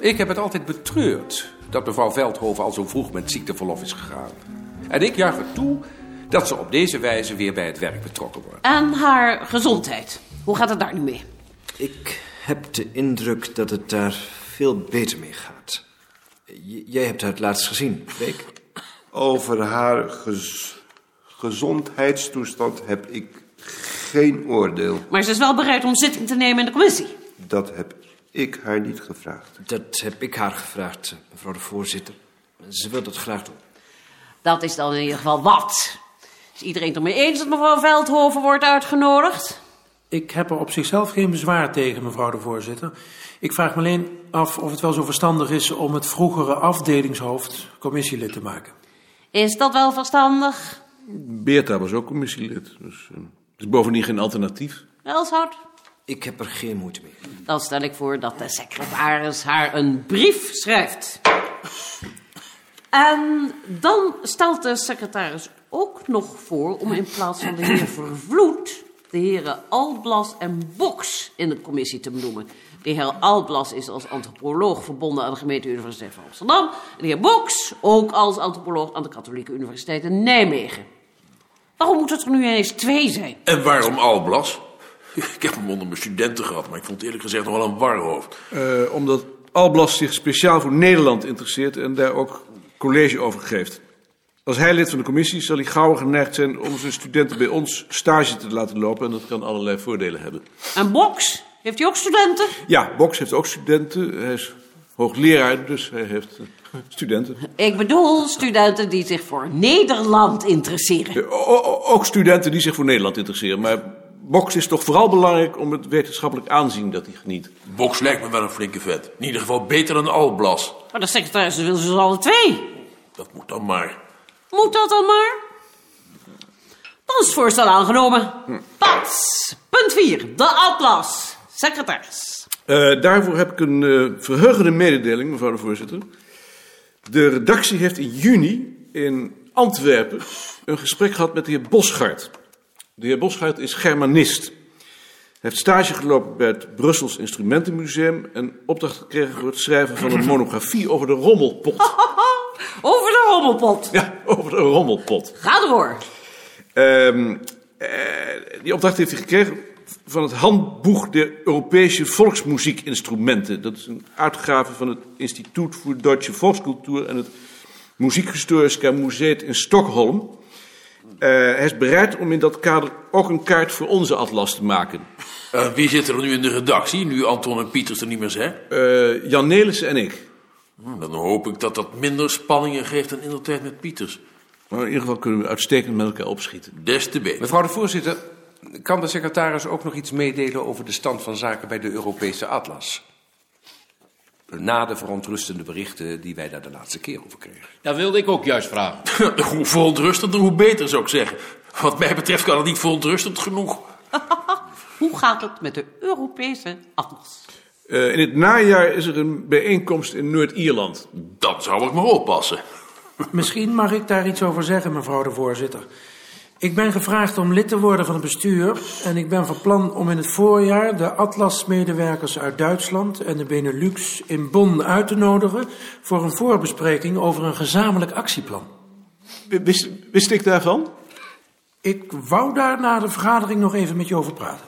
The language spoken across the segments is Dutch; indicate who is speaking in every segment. Speaker 1: Ik heb het altijd betreurd dat mevrouw Veldhoven al zo vroeg met ziekteverlof is gegaan. En ik juich het toe dat ze op deze wijze weer bij het werk betrokken wordt.
Speaker 2: Aan haar gezondheid. Hoe gaat het daar nu mee?
Speaker 3: Ik heb de indruk dat het daar veel beter mee gaat. J- jij hebt haar het laatst gezien, Beek.
Speaker 4: Over haar gez- gezondheidstoestand heb ik geen oordeel.
Speaker 2: Maar ze is wel bereid om zitting te nemen in de commissie.
Speaker 4: Dat heb ik haar niet gevraagd.
Speaker 3: Dat heb ik haar gevraagd, eh, mevrouw de voorzitter. Ze wil dat graag doen.
Speaker 2: Dat is dan in ieder geval wat. Is iedereen het ermee eens dat mevrouw Veldhoven wordt uitgenodigd?
Speaker 5: Ik heb er op zichzelf geen bezwaar tegen, mevrouw de voorzitter. Ik vraag me alleen af of het wel zo verstandig is om het vroegere afdelingshoofd commissielid te maken.
Speaker 2: Is dat wel verstandig?
Speaker 6: Beerta was ook commissielid. Dus, eh, het is bovendien geen alternatief.
Speaker 2: Elshout?
Speaker 3: Ik heb er geen moeite mee.
Speaker 2: Dan stel ik voor dat de secretaris haar een brief schrijft. En dan stelt de secretaris ook nog voor om in plaats van de heer Vervloed... de heren Alblas en Boks in de commissie te benoemen. De heer Alblas is als antropoloog verbonden aan de gemeente Universiteit van Amsterdam... en de heer Boks ook als antropoloog aan de Katholieke Universiteit in Nijmegen. Waarom moet het er nu ineens twee zijn?
Speaker 7: En waarom Alblas? Ik heb hem onder mijn studenten gehad, maar ik vond het eerlijk gezegd nog wel een warhoofd.
Speaker 6: Eh, omdat Alblas zich speciaal voor Nederland interesseert en daar ook college over geeft. Als hij lid van de commissie is, zal hij gauw geneigd zijn om zijn studenten bij ons stage te laten lopen. En dat kan allerlei voordelen hebben.
Speaker 2: En Boks? Heeft hij ook studenten?
Speaker 6: Ja, Box heeft ook studenten. Hij is hoogleraar, dus hij heeft eh, studenten.
Speaker 2: Ik bedoel studenten die zich voor Nederland interesseren.
Speaker 6: Eh, o- o- ook studenten die zich voor Nederland interesseren. Maar Box is toch vooral belangrijk om het wetenschappelijk aanzien dat hij geniet.
Speaker 7: Boks lijkt me wel een flinke vet. In ieder geval beter dan Alblas.
Speaker 2: Maar de secretaris wil ze alle twee.
Speaker 7: Dat moet dan maar.
Speaker 2: Moet dat dan maar? Dan is het voorstel aangenomen. Pas. Punt 4. De atlas. Secretaris.
Speaker 6: Eh, daarvoor heb ik een eh, verheugende mededeling, mevrouw de voorzitter. De redactie heeft in juni in Antwerpen een gesprek gehad met de heer Bosgaard. De heer Bosgaard is Germanist. Hij heeft stage gelopen bij het Brussels Instrumentenmuseum en opdracht gekregen voor het schrijven van een monografie over de rommelpot.
Speaker 2: Over de rommelpot.
Speaker 6: Ja, over de rommelpot.
Speaker 2: Ga door.
Speaker 6: Ehm, eh, die opdracht heeft hij gekregen van het Handboek der Europese Volksmuziekinstrumenten. Dat is een uitgave van het Instituut voor Duitse Volkscultuur en het Muziekhistorisch Museum in Stockholm. Eh, hij is bereid om in dat kader ook een kaart voor onze atlas te maken.
Speaker 7: Eh, wie zit er nu in de redactie, nu Anton en Pieters er niet meer zijn?
Speaker 6: Eh, Jan Nelissen en ik.
Speaker 7: Hm, Dan hoop ik dat dat minder spanningen geeft dan in de tijd met Pieters.
Speaker 6: Maar in ieder geval kunnen we uitstekend met elkaar opschieten.
Speaker 7: Des te beter.
Speaker 1: Mevrouw de voorzitter, kan de secretaris ook nog iets meedelen over de stand van zaken bij de Europese Atlas? Na de verontrustende berichten die wij daar de laatste keer over kregen.
Speaker 8: Dat wilde ik ook juist vragen.
Speaker 7: hoe verontrustender, hoe beter zou ik zeggen. Wat mij betreft kan het niet verontrustend genoeg.
Speaker 2: Hoe gaat het met de Europese atlas?
Speaker 6: Eh, in het najaar is er een bijeenkomst in Noord-Ierland.
Speaker 7: Dan zou ik maar oppassen.
Speaker 5: Misschien mag ik daar iets over zeggen, mevrouw de voorzitter. Ik ben gevraagd om lid te worden van het bestuur en ik ben van plan om in het voorjaar de Atlas-medewerkers uit Duitsland en de Benelux in Bonn uit te nodigen voor een voorbespreking over een gezamenlijk actieplan.
Speaker 6: Wist, wist ik daarvan?
Speaker 5: Ik wou daar na de vergadering nog even met je over praten.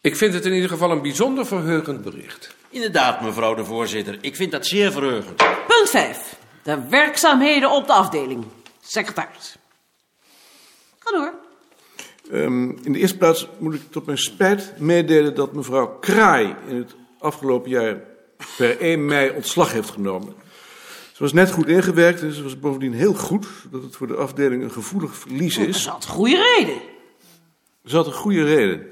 Speaker 1: Ik vind het in ieder geval een bijzonder verheugend bericht.
Speaker 8: Inderdaad, mevrouw de voorzitter. Ik vind dat zeer verheugend.
Speaker 2: Punt 5. De werkzaamheden op de afdeling. Secretaris. Ga door.
Speaker 6: Ehm, in de eerste plaats moet ik tot mijn spijt meedelen dat mevrouw Kraai in het afgelopen jaar per 1 mei ontslag heeft genomen. Ze was net goed ingewerkt en ze was bovendien heel goed, dat het voor de afdeling een gevoelig verlies
Speaker 2: Dat
Speaker 6: is.
Speaker 2: had goede reden.
Speaker 6: Ze had Dus een goede reden.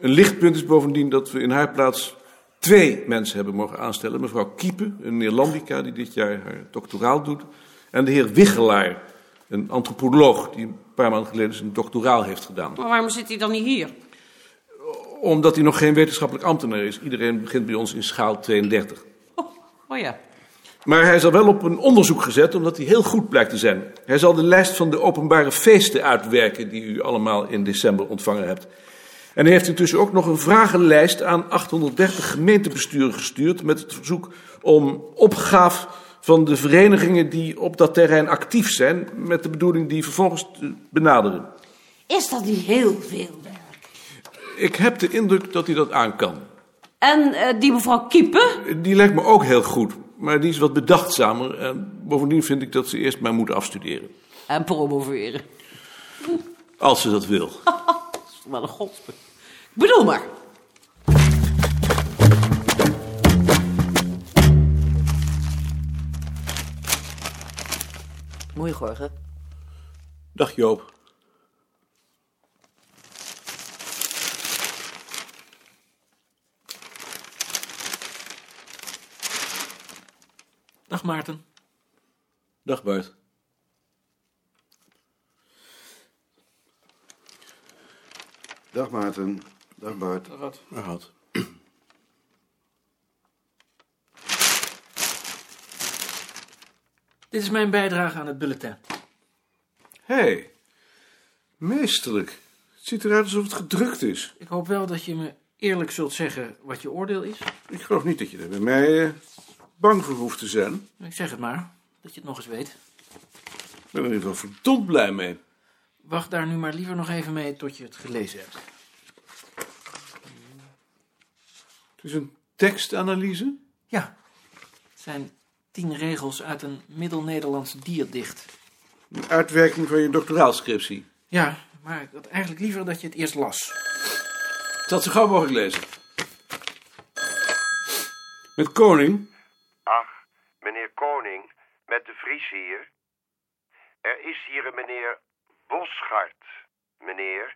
Speaker 6: Een lichtpunt is bovendien dat we in haar plaats twee mensen hebben mogen aanstellen. Mevrouw Kiepen, een Neerlandica die dit jaar haar doctoraal doet. En de heer Wichelaar, een antropoloog die een paar maanden geleden zijn doctoraal heeft gedaan.
Speaker 2: Maar waarom zit hij dan niet hier?
Speaker 6: Omdat hij nog geen wetenschappelijk ambtenaar is. Iedereen begint bij ons in schaal 32.
Speaker 2: Oh, oh ja.
Speaker 6: Maar hij is al wel op een onderzoek gezet, omdat hij heel goed blijkt te zijn. Hij zal de lijst van de openbare feesten uitwerken die u allemaal in december ontvangen hebt. En hij heeft intussen ook nog een vragenlijst aan 830 gemeentebesturen gestuurd... met het verzoek om opgaaf van de verenigingen die op dat terrein actief zijn... met de bedoeling die vervolgens te benaderen.
Speaker 2: Is dat niet heel veel werk?
Speaker 6: Ik heb de indruk dat hij dat aan kan.
Speaker 2: En eh, die mevrouw Kiepen?
Speaker 6: Die lijkt me ook heel goed, maar die is wat bedachtzamer. En bovendien vind ik dat ze eerst maar moet afstuderen.
Speaker 2: En promoveren.
Speaker 6: Als ze dat wil.
Speaker 2: Wat een godsbe. Ik bedoel maar. Goeiemorgen.
Speaker 6: Dag Joop.
Speaker 5: Dag Maarten.
Speaker 6: Dag Bart.
Speaker 9: Dag Maarten. Dag Bart.
Speaker 6: Dag Hout.
Speaker 5: Dit is mijn bijdrage aan het bulletin.
Speaker 6: Hé, hey. meesterlijk. Het ziet eruit alsof het gedrukt is.
Speaker 5: Ik hoop wel dat je me eerlijk zult zeggen wat je oordeel is.
Speaker 6: Ik geloof niet dat je er bij mij eh, bang voor hoeft te zijn. Ik
Speaker 5: Ik zeg het maar, dat je het nog eens weet.
Speaker 6: ben er in ieder geval verdomd blij mee.
Speaker 5: Wacht daar nu maar liever nog even mee tot je het gelezen hebt.
Speaker 6: Het is een tekstanalyse.
Speaker 5: Ja, het zijn tien regels uit een middel-Nederlands dierdicht.
Speaker 6: Een uitwerking van je doctoraalscriptie.
Speaker 5: Ja, maar ik had eigenlijk liever dat je het eerst las.
Speaker 6: Ik zal het zo gauw mogelijk lezen. Met koning.
Speaker 10: Ach, meneer Koning, met de Vries hier. Er is hier een meneer Boschart, meneer,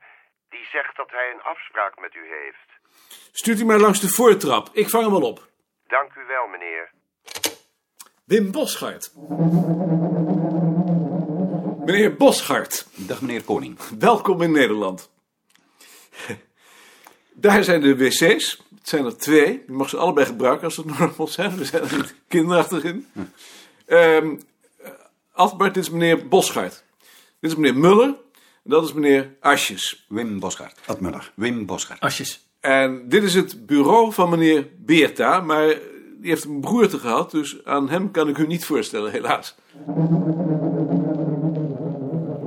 Speaker 10: die zegt dat hij een afspraak met u heeft.
Speaker 6: Stuurt hij maar langs de voortrap. Ik vang hem al op.
Speaker 10: Dank u wel, meneer.
Speaker 6: Wim Boschart. Meneer Boschart,
Speaker 11: Dag meneer Koning.
Speaker 6: welkom in Nederland. Daar zijn de wc's. Het zijn er twee. Je mag ze allebei gebruiken als ze normaal zijn. We zijn er niet kinderachtig in. Ehm eh, Adbert, dit is meneer Boschart. Dit is meneer Muller. En dat is meneer Asjes.
Speaker 11: Wim Bosgaard. Ad Muller. Wim Bosgaard.
Speaker 5: Asjes.
Speaker 6: En dit is het bureau van meneer Beerta. Maar die heeft een broerte gehad. Dus aan hem kan ik u niet voorstellen, helaas.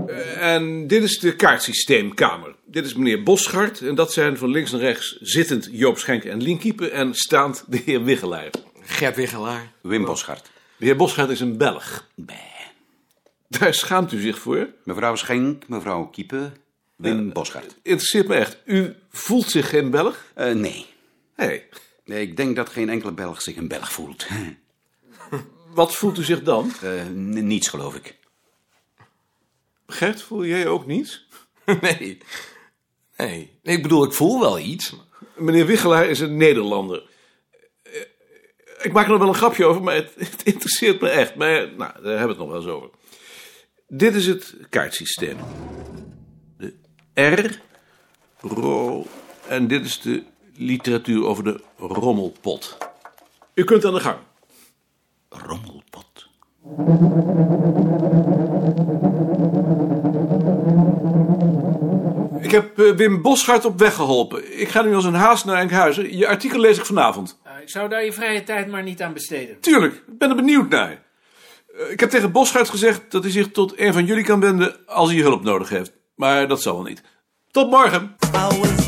Speaker 6: Eh, En dit is de kaartsysteemkamer. Dit is meneer Boschart. En dat zijn van links en rechts zittend Joop Schenk en Linkiepen. En staand de heer Wiggelaar.
Speaker 8: Gert Wiggelaar.
Speaker 11: Wim Bosgaard.
Speaker 6: De heer Boschart is een Belg.
Speaker 11: Bah.
Speaker 6: Daar schaamt u zich voor.
Speaker 11: Mevrouw Schenk, mevrouw Kiepen. Wim Bosgaard.
Speaker 6: Interesseert me echt. U voelt zich geen Belg?
Speaker 11: Eh, nee.
Speaker 6: Hé, hey,
Speaker 11: Nee, Ik denk dat geen enkele Belg zich een Belg voelt.
Speaker 6: wat voelt u zich dan?
Speaker 11: Eh, n- niets, geloof ik.
Speaker 6: Gert, voel jij ook niets?
Speaker 7: Nee. Nee. Ik bedoel, ik voel wel iets.
Speaker 6: Meneer Wichelaar is een Nederlander. Eh, Ik maak er nog wel een grapje over, maar het, het interesseert me echt. Maar eh, nou, daar hebben we het nog wel eens over. Dit is het kaartsysteem. De R, Ro en dit is de literatuur over de rommelpot. U kunt aan de gang.
Speaker 11: Rommelpot.
Speaker 6: Ik heb eh, Wim Boschart op weg geholpen. Ik ga nu als een haas naar Enkhuizen. Je artikel lees ik vanavond.
Speaker 5: Eh, ik zou daar je vrije tijd maar niet aan besteden.
Speaker 6: Tuurlijk, ik ben er benieuwd naar. Eh, Ik heb tegen Boschart gezegd dat hij zich tot een van jullie kan wenden als hij hulp nodig heeft. Maar dat zal wel niet. Tot morgen.
Speaker 12: I was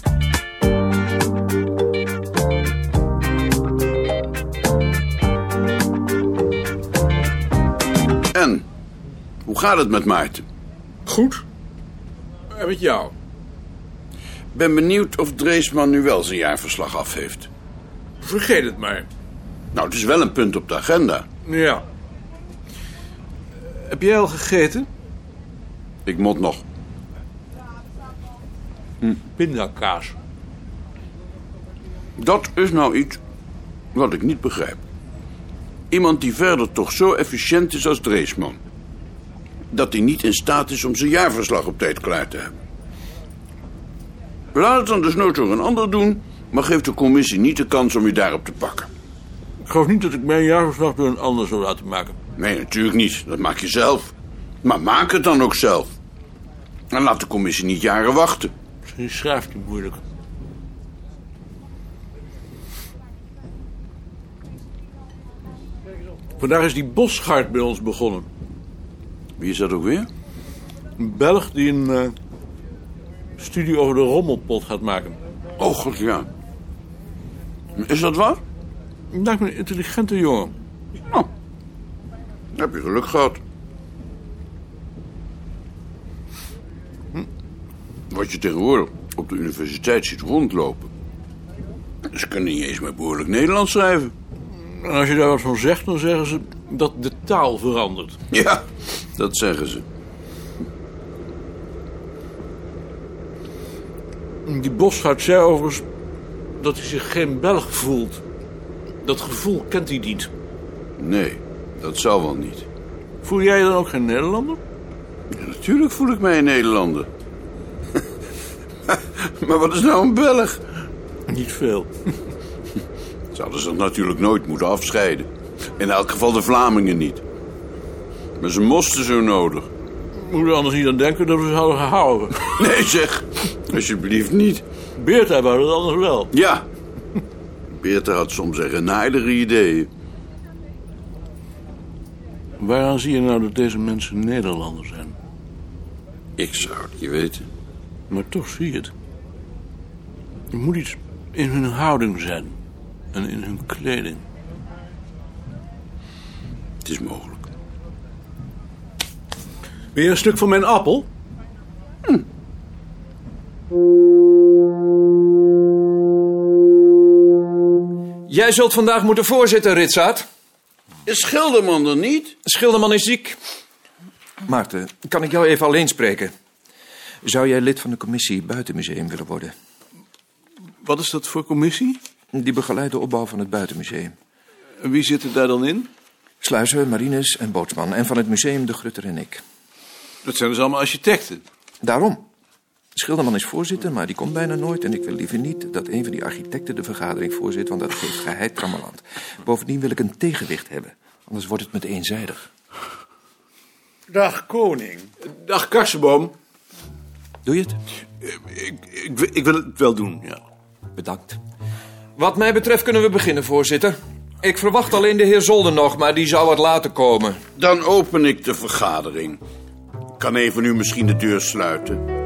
Speaker 9: En? Hoe gaat het met Maarten?
Speaker 6: Goed. En met jou?
Speaker 9: Ben benieuwd of Dreesman nu wel zijn jaarverslag af heeft.
Speaker 6: Vergeet het maar.
Speaker 9: Nou, het is wel een punt op de agenda.
Speaker 13: Nou
Speaker 6: Ja. Heb jij al gegeten?
Speaker 9: Ik moet nog.
Speaker 6: Pindakaas.
Speaker 9: Dat is nou iets. Wat ik niet begrijp. Iemand die verder toch zo efficiënt is als Dreesman. Dat hij niet in staat is om zijn jaarverslag op tijd klaar te hebben. Laat het dan desnoods door een ander doen, maar geef de commissie niet de kans om je daarop te pakken.
Speaker 13: Ik geloof niet dat ik mijn jaarverslag door een ander zou laten maken.
Speaker 9: Nee, natuurlijk niet. Dat maak je zelf. Maar maak het dan ook zelf. En laat de commissie niet jaren wachten.
Speaker 13: Misschien schrijft hij moeilijk.
Speaker 6: Vandaag is die bosgaard bij ons begonnen.
Speaker 9: Wie is dat ook weer?
Speaker 6: Een Belg die een eh, studie over de rommelpot gaat maken.
Speaker 9: Oh, god ja. Is dat waar?
Speaker 6: Lijkt me een intelligente jongen.
Speaker 9: Nou, heb je geluk gehad. Hm. Wat je tegenwoordig op de universiteit ziet rondlopen. Ze kunnen niet eens meer behoorlijk Nederlands schrijven.
Speaker 6: En als je daar wat van zegt, dan zeggen ze dat de taal verandert.
Speaker 9: Ja, dat zeggen ze.
Speaker 6: Die bosgaard zei overigens dat hij zich geen Belg voelt. Dat gevoel kent hij niet.
Speaker 9: Nee, dat zal wel niet.
Speaker 6: Voel jij je dan ook geen Nederlander?
Speaker 9: Ja, natuurlijk voel ik mij een Nederlander. maar wat is nou een Belg?
Speaker 6: Niet veel.
Speaker 9: Ze hadden zich natuurlijk nooit moeten afscheiden. In elk geval de Vlamingen niet. Maar ze moesten zo nodig.
Speaker 6: Moet je anders niet aan denken dat we ze hadden gehouden.
Speaker 9: Nee zeg, alsjeblieft niet.
Speaker 6: Beerta wou dat anders wel.
Speaker 9: Ja. Beerta had soms echt naaidere ideeën.
Speaker 6: Waaraan zie je nou dat deze mensen Nederlander zijn?
Speaker 9: Ik zou het niet weten.
Speaker 6: Maar toch zie je het. Er moet iets in hun houding zijn. En in hun kleding.
Speaker 9: Het is mogelijk.
Speaker 6: Weer een stuk van mijn appel?
Speaker 14: Jij zult vandaag moeten voorzitten, Ritsaat.
Speaker 9: Is Schilderman er niet?
Speaker 14: Schilderman is ziek. Maarten, kan ik jou even alleen spreken? Zou jij lid van de commissie Buitenmuseum willen worden?
Speaker 6: Wat is dat voor commissie?
Speaker 14: Die begeleidt de opbouw van het Buitenmuseum.
Speaker 6: Wie zit er daar dan in?
Speaker 14: Sluizen, marines en bootsman. En van het museum de Grutter en ik.
Speaker 6: Dat zijn dus allemaal architecten.
Speaker 14: Daarom. Schilderman is voorzitter, maar die komt bijna nooit. En ik wil liever niet dat een van die architecten de vergadering voorzit, want dat geeft geheid trammeland. Bovendien wil ik een tegenwicht hebben, anders wordt het met eenzijdig.
Speaker 13: Dag, koning.
Speaker 6: Dag, Karsenboom.
Speaker 14: Doe je het?
Speaker 13: Ik, ik, ik wil het wel doen, ja.
Speaker 14: Bedankt. Wat mij betreft kunnen we beginnen, voorzitter. Ik verwacht alleen de heer Zolder nog, maar die zou wat later komen.
Speaker 9: Dan open ik de vergadering. Kan even nu misschien de deur sluiten.